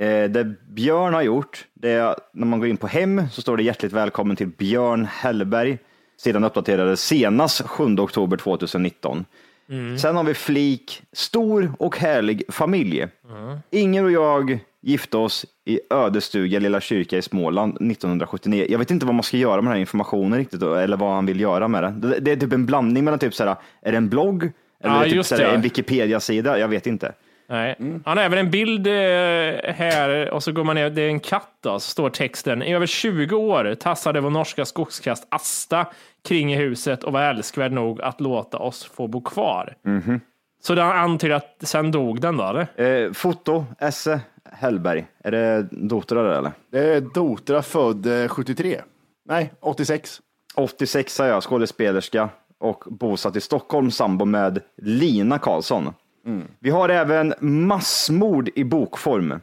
[SPEAKER 6] Eh, det Björn har gjort, det är, när man går in på hem så står det hjärtligt välkommen till Björn Hellberg. Sidan uppdaterades senast 7 oktober 2019.
[SPEAKER 2] Mm.
[SPEAKER 6] Sen har vi flik stor och härlig familj.
[SPEAKER 2] Mm.
[SPEAKER 6] Inger och jag gifte oss i Ödestuga, lilla kyrka i Småland 1979. Jag vet inte vad man ska göra med den här informationen riktigt, eller vad han vill göra med den. Det- Det är typ en blandning mellan typ så här, är det en blogg?
[SPEAKER 2] Ja,
[SPEAKER 6] Eller är det typ
[SPEAKER 2] just
[SPEAKER 6] så här,
[SPEAKER 2] det.
[SPEAKER 6] en Wikipedia-sida? Jag vet inte.
[SPEAKER 2] Nej. Han har även en bild eh, här och så går man ner, det är en katt då, så står texten. I över 20 år tassade vår norska skogskast Asta kring i huset och var älskvärd nog att låta oss få bo kvar. Så den antyder att sen dog den då, eller?
[SPEAKER 6] Eh, foto, Esse Hellberg. Är det dotrar där, eller?
[SPEAKER 4] det är Dotra född eh, 73. Nej, 86.
[SPEAKER 6] 86 är jag, skådespelerska och bosatt i Stockholm, sambo med Lina Karlsson. Vi har även massmord i bokform.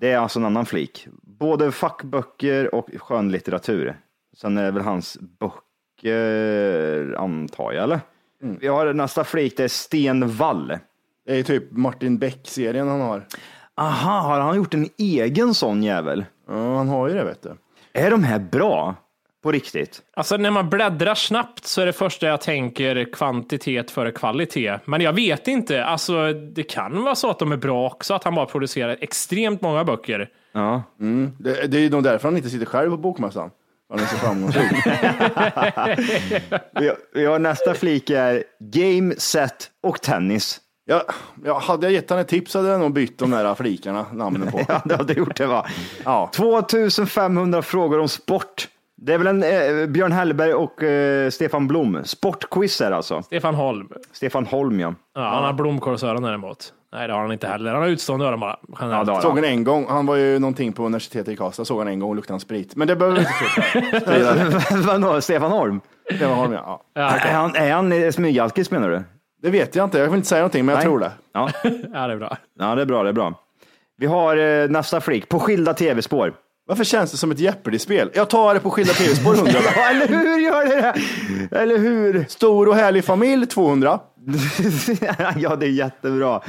[SPEAKER 6] Det är alltså en annan flik. Både fackböcker och skönlitteratur. Sen är det väl hans böcker, antar jag, eller? Vi har nästa flik, det är Sten Wall.
[SPEAKER 4] Det är typ Martin Beck-serien han har.
[SPEAKER 6] Aha, har han gjort en egen sån jävel?
[SPEAKER 4] Ja, han har ju det vet du.
[SPEAKER 6] Är de här bra? På riktigt?
[SPEAKER 2] Alltså när man bläddrar snabbt så är det första jag tänker kvantitet före kvalitet. Men jag vet inte, alltså det kan vara så att de är bra också, att han bara producerar extremt många böcker.
[SPEAKER 6] Ja.
[SPEAKER 4] Det, det är ju nog därför han inte sitter själv på bokmässan. Han är så framgångsrik.
[SPEAKER 6] Vi har, vi har nästa flik är game, set och tennis.
[SPEAKER 4] Jag, ja, hade jag gett henne tips hade jag nog bytt de där flikarna namnen på.
[SPEAKER 6] Ja, det hade jag gjort det va.
[SPEAKER 4] Ja.
[SPEAKER 6] 2500 frågor om sport. Det är väl en eh, Björn Hellberg och eh, Stefan Blom. Sportquiz är det alltså.
[SPEAKER 2] Stefan Holm.
[SPEAKER 6] Stefan Holm ja.
[SPEAKER 2] Ja, Han har blomkålsöron däremot. Nej, det har han inte heller. Han har utstående öron bara.
[SPEAKER 6] ja
[SPEAKER 2] Generellt.
[SPEAKER 6] det har
[SPEAKER 4] Såg
[SPEAKER 6] han.
[SPEAKER 4] han en gång, han var ju någonting på universitetet i Karlstad, såg han en gång och luktade han sprit. Men det behöver vi inte strida.
[SPEAKER 6] Vadå, Stefan Holm?
[SPEAKER 4] Det var honom, ja. Ja.
[SPEAKER 6] Är han, är han eh, smygalkis menar du?
[SPEAKER 4] Det vet jag inte, jag vill inte säga någonting men jag
[SPEAKER 6] Nej.
[SPEAKER 4] tror det.
[SPEAKER 6] Ja.
[SPEAKER 2] ja, det är bra.
[SPEAKER 6] ja, det är bra, det är bra. Vi har eh, nästa flick, på skilda tv-spår.
[SPEAKER 4] Varför känns det som ett Jeopardy-spel? Jag tar det på skilda tv-spår 100.
[SPEAKER 6] Ja, eller hur gör det det? Eller hur?
[SPEAKER 4] Stor och härlig familj 200.
[SPEAKER 6] ja, det är jättebra.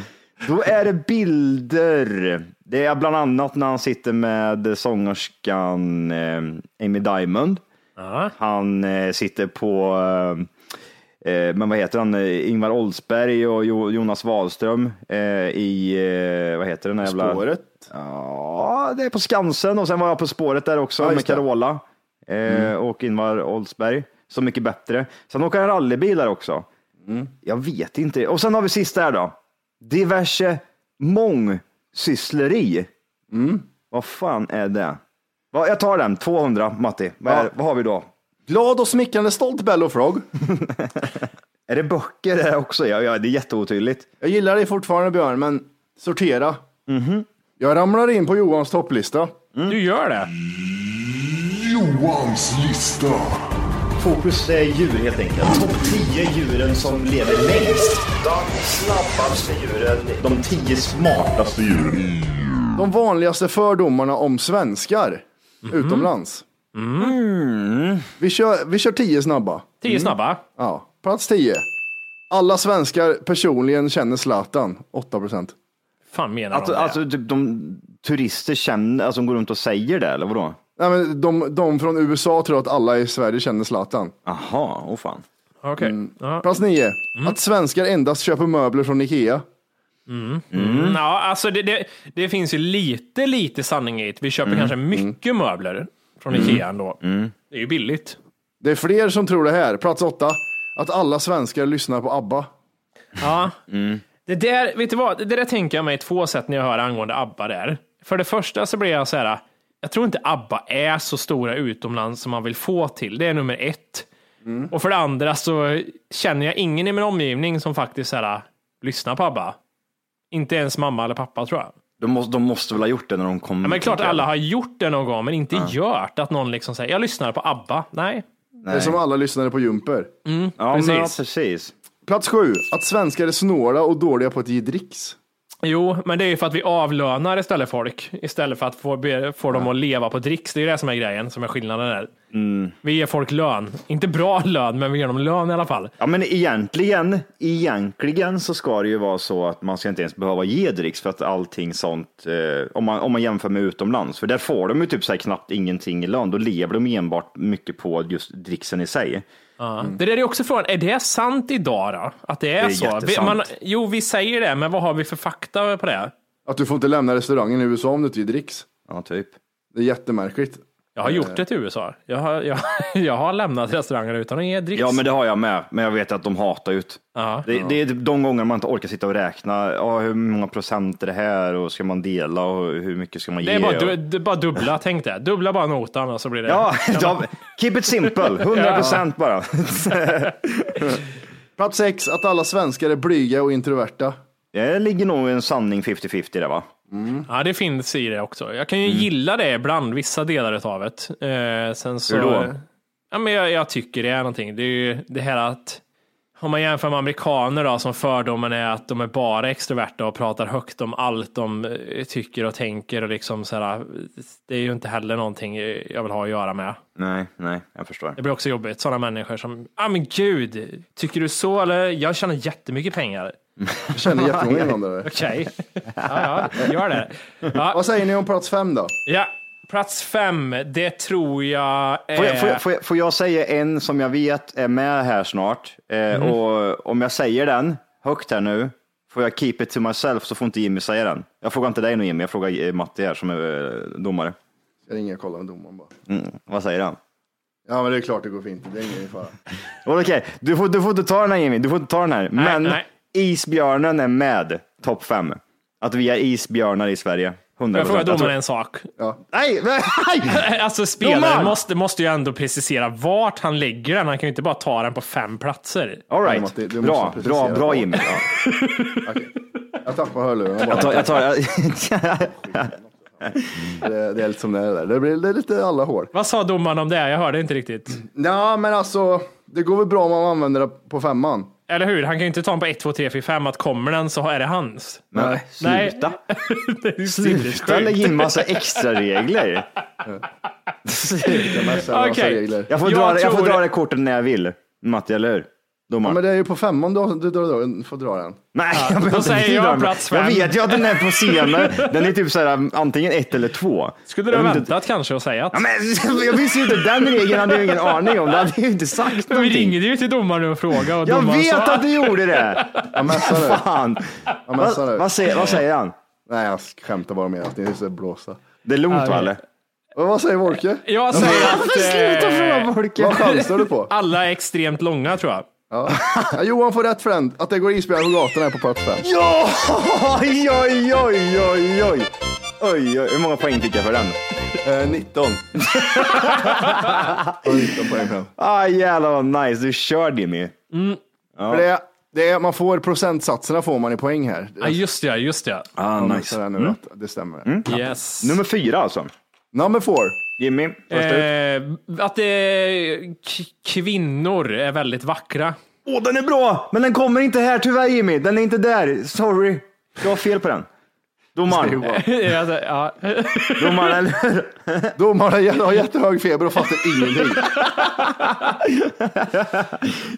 [SPEAKER 6] Då är det bilder. Det är bland annat när han sitter med sångerskan eh, Amy Diamond.
[SPEAKER 2] Ja.
[SPEAKER 6] Han eh, sitter på, eh, eh, men vad heter han, Eh, Ingvar Oldsberg och Jo- Jonas Wahlström eh, i, eh, vad heter den här jävla?
[SPEAKER 4] Spåret.
[SPEAKER 6] Ja, det är på Skansen och sen var jag på spåret där också
[SPEAKER 4] Ja,
[SPEAKER 6] med
[SPEAKER 4] just det. Mm.
[SPEAKER 6] Carola eh, och Ingvar Oldsberg. Så mycket bättre. Sen åker han rallybil där också.
[SPEAKER 4] Mm.
[SPEAKER 6] Jag vet inte. Och sen har vi sista här då. Diverse mångsyssleri.
[SPEAKER 4] Mm.
[SPEAKER 6] Vad fan är det? Va, jag tar den, 200 Matti. Vad, är,
[SPEAKER 4] Ja.
[SPEAKER 6] vad har vi då?
[SPEAKER 4] Glad och smickrande stolt Bello Frog.
[SPEAKER 6] Är det böcker det här också? Ja, ja, det är jätteotydligt.
[SPEAKER 4] Jag gillar dig fortfarande Björn, men sortera. Jag ramlar in på Johans topplista.
[SPEAKER 2] Du gör det?
[SPEAKER 6] Fokus är djur helt enkelt. Topp 10 djuren som lever längst. De snabbaste djuren. De 10 smartaste djuren.
[SPEAKER 4] De vanligaste fördomarna om svenskar utomlands. Vi, kör, vi kör tio snabba.
[SPEAKER 2] Tio
[SPEAKER 6] Mm.
[SPEAKER 2] snabba.
[SPEAKER 4] Ja. Plats tio. Alla svenskar personligen känner Zlatan, 8 procent.
[SPEAKER 2] fan menar
[SPEAKER 6] Alltså,
[SPEAKER 2] de det?
[SPEAKER 6] alltså typ de turister känner, alltså de går runt och säger det eller vadå?
[SPEAKER 4] Nej, men de, de från USA tror att alla i Sverige känner Zlatan.
[SPEAKER 6] Aha, åh fan.
[SPEAKER 2] Okej.
[SPEAKER 6] mm.
[SPEAKER 2] Ja.
[SPEAKER 4] Plats nio. Att svenskar endast köper möbler från Ikea.
[SPEAKER 2] Mm, ja, alltså det, det, det finns ju lite, lite sanning i det. Vi
[SPEAKER 6] Mm.
[SPEAKER 2] köper kanske mycket möbler från Ikea ändå. Det är ju billigt.
[SPEAKER 4] Det är fler som tror det här. Plats åtta. Att alla svenskar lyssnar på ABBA.
[SPEAKER 2] Ja. Det där, vet du vad? Det där tänker jag mig två sätt när jag hör angående ABBA där. För det första så blir jag så här, jag tror inte ABBA är så stora utomlands som man vill få till. Det är nummer ett. Och för det andra så känner jag ingen i min omgivning som faktiskt så här, lyssnar på ABBA. Inte ens mamma eller pappa tror jag.
[SPEAKER 6] De måste, de måste väl ha gjort det när de kom.
[SPEAKER 2] Ja, men klart alla har gjort det någon gång, men inte gjort att någon liksom säger jag lyssnar på ABBA. Nej,
[SPEAKER 4] Det är som alla lyssnade på Jumper.
[SPEAKER 6] Ja, precis. Men, ja,
[SPEAKER 2] precis.
[SPEAKER 6] precis.
[SPEAKER 4] Plats sju. Att svenskar är snåla och dåliga på att ge dricks.
[SPEAKER 2] Jo, men det är ju för att vi avlönar istället folk, istället för att få, be, få dem att leva på dricks. Det är ju det som är grejen, som är skillnaden där. Vi ger folk lön. Inte bra lön, men vi ger dem lön i alla fall.
[SPEAKER 6] Ja, men egentligen, egentligen så ska det ju vara så att man ska inte ens behöva ge dricks för att allting sånt, eh, om, man, om man jämför med utomlands, för där får de ju typ så här knappt ingenting i lön. Då lever de enbart mycket på just dricksen i sig.
[SPEAKER 2] Ja. Det där är också frågan, är det sant idag då? Att det är,
[SPEAKER 6] Det är
[SPEAKER 2] så? Vi,
[SPEAKER 6] jättesant.
[SPEAKER 2] jo, vi säger det, men vad har vi för fakta på det?
[SPEAKER 4] Att du får inte lämna restaurangen i USA om du inte ger dricks.
[SPEAKER 6] Ja, typ.
[SPEAKER 4] Det är jättemärkligt.
[SPEAKER 2] Jag har gjort det till USA. Jag har, jag, jag har lämnat restauranger utan att ge dricks.
[SPEAKER 6] Ja, men det har jag med. Men jag vet att de hatar ut.
[SPEAKER 2] Ja.
[SPEAKER 6] Det, det är typ de gånger man inte orkar sitta och räkna. Ja, hur många procent är det här och ska man dela och hur mycket ska man
[SPEAKER 2] Det
[SPEAKER 6] ge?
[SPEAKER 2] är bara,
[SPEAKER 6] och-
[SPEAKER 2] du, det är bara dubbla, tänk det. Dubbla bara notan och så blir det.
[SPEAKER 6] Ja, de, keep it simple. 100 procent bara.
[SPEAKER 4] Plats sex, att alla svenskar är blyga och introverta.
[SPEAKER 6] Det ligger nog en sanning 50-50 där va?
[SPEAKER 2] Ja, det finns i det också. Jag kan ju
[SPEAKER 6] Mm.
[SPEAKER 2] gilla det ibland, vissa delar av det. Eh, sen så,
[SPEAKER 6] Hur då?
[SPEAKER 2] Ja, men jag, jag tycker det är någonting. Det är ju det här att om man jämför med amerikaner då, som fördomen är att de är bara extroverta och pratar högt om allt de eh, tycker och tänker och liksom så här, det är ju inte heller någonting eh, jag vill ha att göra med.
[SPEAKER 6] Nej, nej, jag förstår.
[SPEAKER 2] Det blir också jobbigt, sådana människor som, ja ah, men gud, tycker du så eller? Jag tjänar jättemycket pengar.
[SPEAKER 4] Jag känner jättemånga innan det där.
[SPEAKER 2] Okej, ja, ja, gör det. Ja,
[SPEAKER 4] Vad säger ni om plats fem då?
[SPEAKER 2] Ja, plats fem, det tror jag är...
[SPEAKER 6] Får jag, får, jag, får, jag, får jag säga en som jag vet är med här snart? Eh,
[SPEAKER 2] Mm.
[SPEAKER 6] Och om jag säger den högt här nu, får jag keep it to myself så får inte Jimmy säga den. Jag frågar inte dig nu Jimmy, jag frågar eh, Matti här som är eh, domare. Mm,
[SPEAKER 4] Jag ringer och kollar med domaren bara.
[SPEAKER 6] Vad säger han?
[SPEAKER 4] Ja men det är klart det går fint, det är ingen fara.
[SPEAKER 6] Okej, du, får, du får inte ta den här Jimmy, du får inte ta den här. Men
[SPEAKER 2] nej.
[SPEAKER 6] Isbjörnen är med topp fem. Att vi är isbjörnar i Sverige. 100%.
[SPEAKER 2] Jag frågar
[SPEAKER 6] Jag tror-
[SPEAKER 2] domaren en sak.
[SPEAKER 6] Nej, nej!
[SPEAKER 2] Alltså spelaren
[SPEAKER 6] Domaren!
[SPEAKER 2] måste, måste ju ändå precisera vart han lägger den. Han kan ju inte bara ta den på fem platser.
[SPEAKER 6] All
[SPEAKER 4] Ja,
[SPEAKER 6] right.
[SPEAKER 4] Matti, du måste
[SPEAKER 6] bra,
[SPEAKER 4] precisera
[SPEAKER 6] bra, bra
[SPEAKER 4] på.
[SPEAKER 6] Jimmy. Ja.
[SPEAKER 4] Jag tappar hörlurarna bara.
[SPEAKER 6] Jag tar, jag tar,
[SPEAKER 4] Det, det är lite som det är där. Det blir det är lite alla hår.
[SPEAKER 2] Vad sa domaren om det? Jag hörde inte riktigt.
[SPEAKER 4] Ja, men alltså, det går väl bra om man använder det på femman.
[SPEAKER 2] Eller hur? Han kan ju inte ta den på 1, 2, 3, 4, 5. Att kommer den så är det hans.
[SPEAKER 6] nej,
[SPEAKER 2] Nej.
[SPEAKER 6] sluta.
[SPEAKER 2] Det är ju
[SPEAKER 6] Sluta lägga in massa extra regler.
[SPEAKER 4] Det mesta är en massa
[SPEAKER 2] Okej.
[SPEAKER 4] alltså, regler.
[SPEAKER 6] Jag får,
[SPEAKER 2] Jag
[SPEAKER 6] dra, jag får
[SPEAKER 2] tror-
[SPEAKER 6] dra det kortet när jag vill. Matti, eller hur?
[SPEAKER 4] Ja,
[SPEAKER 6] Domaren.
[SPEAKER 4] men det är ju på femman du, du, du, du får dra den.
[SPEAKER 6] Nej, jag behöver
[SPEAKER 2] säger
[SPEAKER 6] inte
[SPEAKER 2] jag
[SPEAKER 6] dra den.
[SPEAKER 2] plats
[SPEAKER 6] Jag
[SPEAKER 2] fem.
[SPEAKER 6] vet ju att den är på scenen. Den är typ så här, antingen ett eller två.
[SPEAKER 2] Skulle du
[SPEAKER 6] Jag
[SPEAKER 2] ha
[SPEAKER 6] vet inte-
[SPEAKER 2] väntat kanske och säga att...
[SPEAKER 6] Ja, men, jag visste ju inte den regeln, hade jag ingen aning om. Det hade jag ju inte sagt
[SPEAKER 2] Men vi
[SPEAKER 6] någonting.
[SPEAKER 2] ringde ju till domaren och frågade och
[SPEAKER 6] Jag
[SPEAKER 2] domaren
[SPEAKER 6] vet
[SPEAKER 2] sa...
[SPEAKER 6] att du gjorde det!
[SPEAKER 4] Ja, mässa nu.
[SPEAKER 6] Fan!
[SPEAKER 4] men så är det.
[SPEAKER 6] Vad, vad, säger, vad säger han?
[SPEAKER 4] Nej, jag skämtar bara med att ni är så blåsa.
[SPEAKER 6] Det är lugnt va
[SPEAKER 2] okej.
[SPEAKER 6] eller?
[SPEAKER 4] Och vad säger Wolke?
[SPEAKER 2] Jag säger att... eh,
[SPEAKER 4] Vad chansar du på?
[SPEAKER 2] Alla är extremt långa tror jag.
[SPEAKER 4] Ja, Johan får rätt för den. Att det går isbjörn på gatan är på plats fem.
[SPEAKER 6] Ja! Oj, oj, oj, oj, oj. Oj, oj, hur många poäng fick jag för den?
[SPEAKER 4] Eh, 19. Och 19 poäng fram.
[SPEAKER 6] Ah, jävlar vad nice, du kör Jimmy.
[SPEAKER 4] För det, det är, man får procentsatserna får man i poäng här.
[SPEAKER 2] Ja, just det, just det.
[SPEAKER 6] Ah,
[SPEAKER 4] Jag
[SPEAKER 6] nice.
[SPEAKER 4] missade det nu att det stämmer. Mm.
[SPEAKER 2] Yes.
[SPEAKER 6] Nummer fyra alltså.
[SPEAKER 4] Number four.
[SPEAKER 6] Jimmy, först ut.
[SPEAKER 2] Eh, att det,
[SPEAKER 7] eh,
[SPEAKER 2] k- kvinnor är väldigt vackra.
[SPEAKER 6] Åh, den är bra! Men den kommer inte här tyvärr Jimmy. Den är inte där. Sorry. Jag har fel på den. Domaren.
[SPEAKER 2] Alltså, ja.
[SPEAKER 6] Domaren, eller?
[SPEAKER 4] Domaren har jättehög feber och fattar ingenting.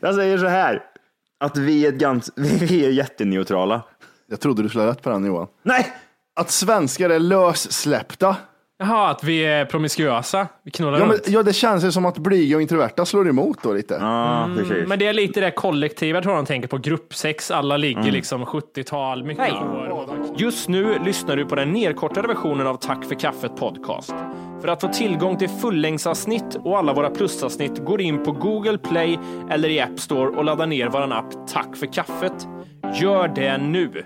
[SPEAKER 6] Jag säger så här. Att vi är, ett gans, vi är jätteneutrala.
[SPEAKER 4] Jag trodde du skulle ha rätt på den Johan.
[SPEAKER 6] Nej!
[SPEAKER 4] Att svenskar är lössläppta.
[SPEAKER 2] Jaha, att vi är promiskuösa. Vi knullar
[SPEAKER 4] Ja, men,
[SPEAKER 2] runt.
[SPEAKER 4] ja, det känns ju som att blyga och introverta slår emot då lite.
[SPEAKER 6] Ja, Ah, precis.
[SPEAKER 2] Mm, Men det är lite det kollektiva, jag tror de tänker på gruppsex. Alla ligger
[SPEAKER 4] Mm.
[SPEAKER 2] liksom 70-tal, mycket hår.
[SPEAKER 7] Just nu lyssnar du på den nedkortade versionen av Tack för kaffet podcast. För att få tillgång till fullängdsavsnitt och alla våra plusavsnitt går in på Google Play eller i App Store och laddar ner vår app Tack för kaffet. Gör det nu!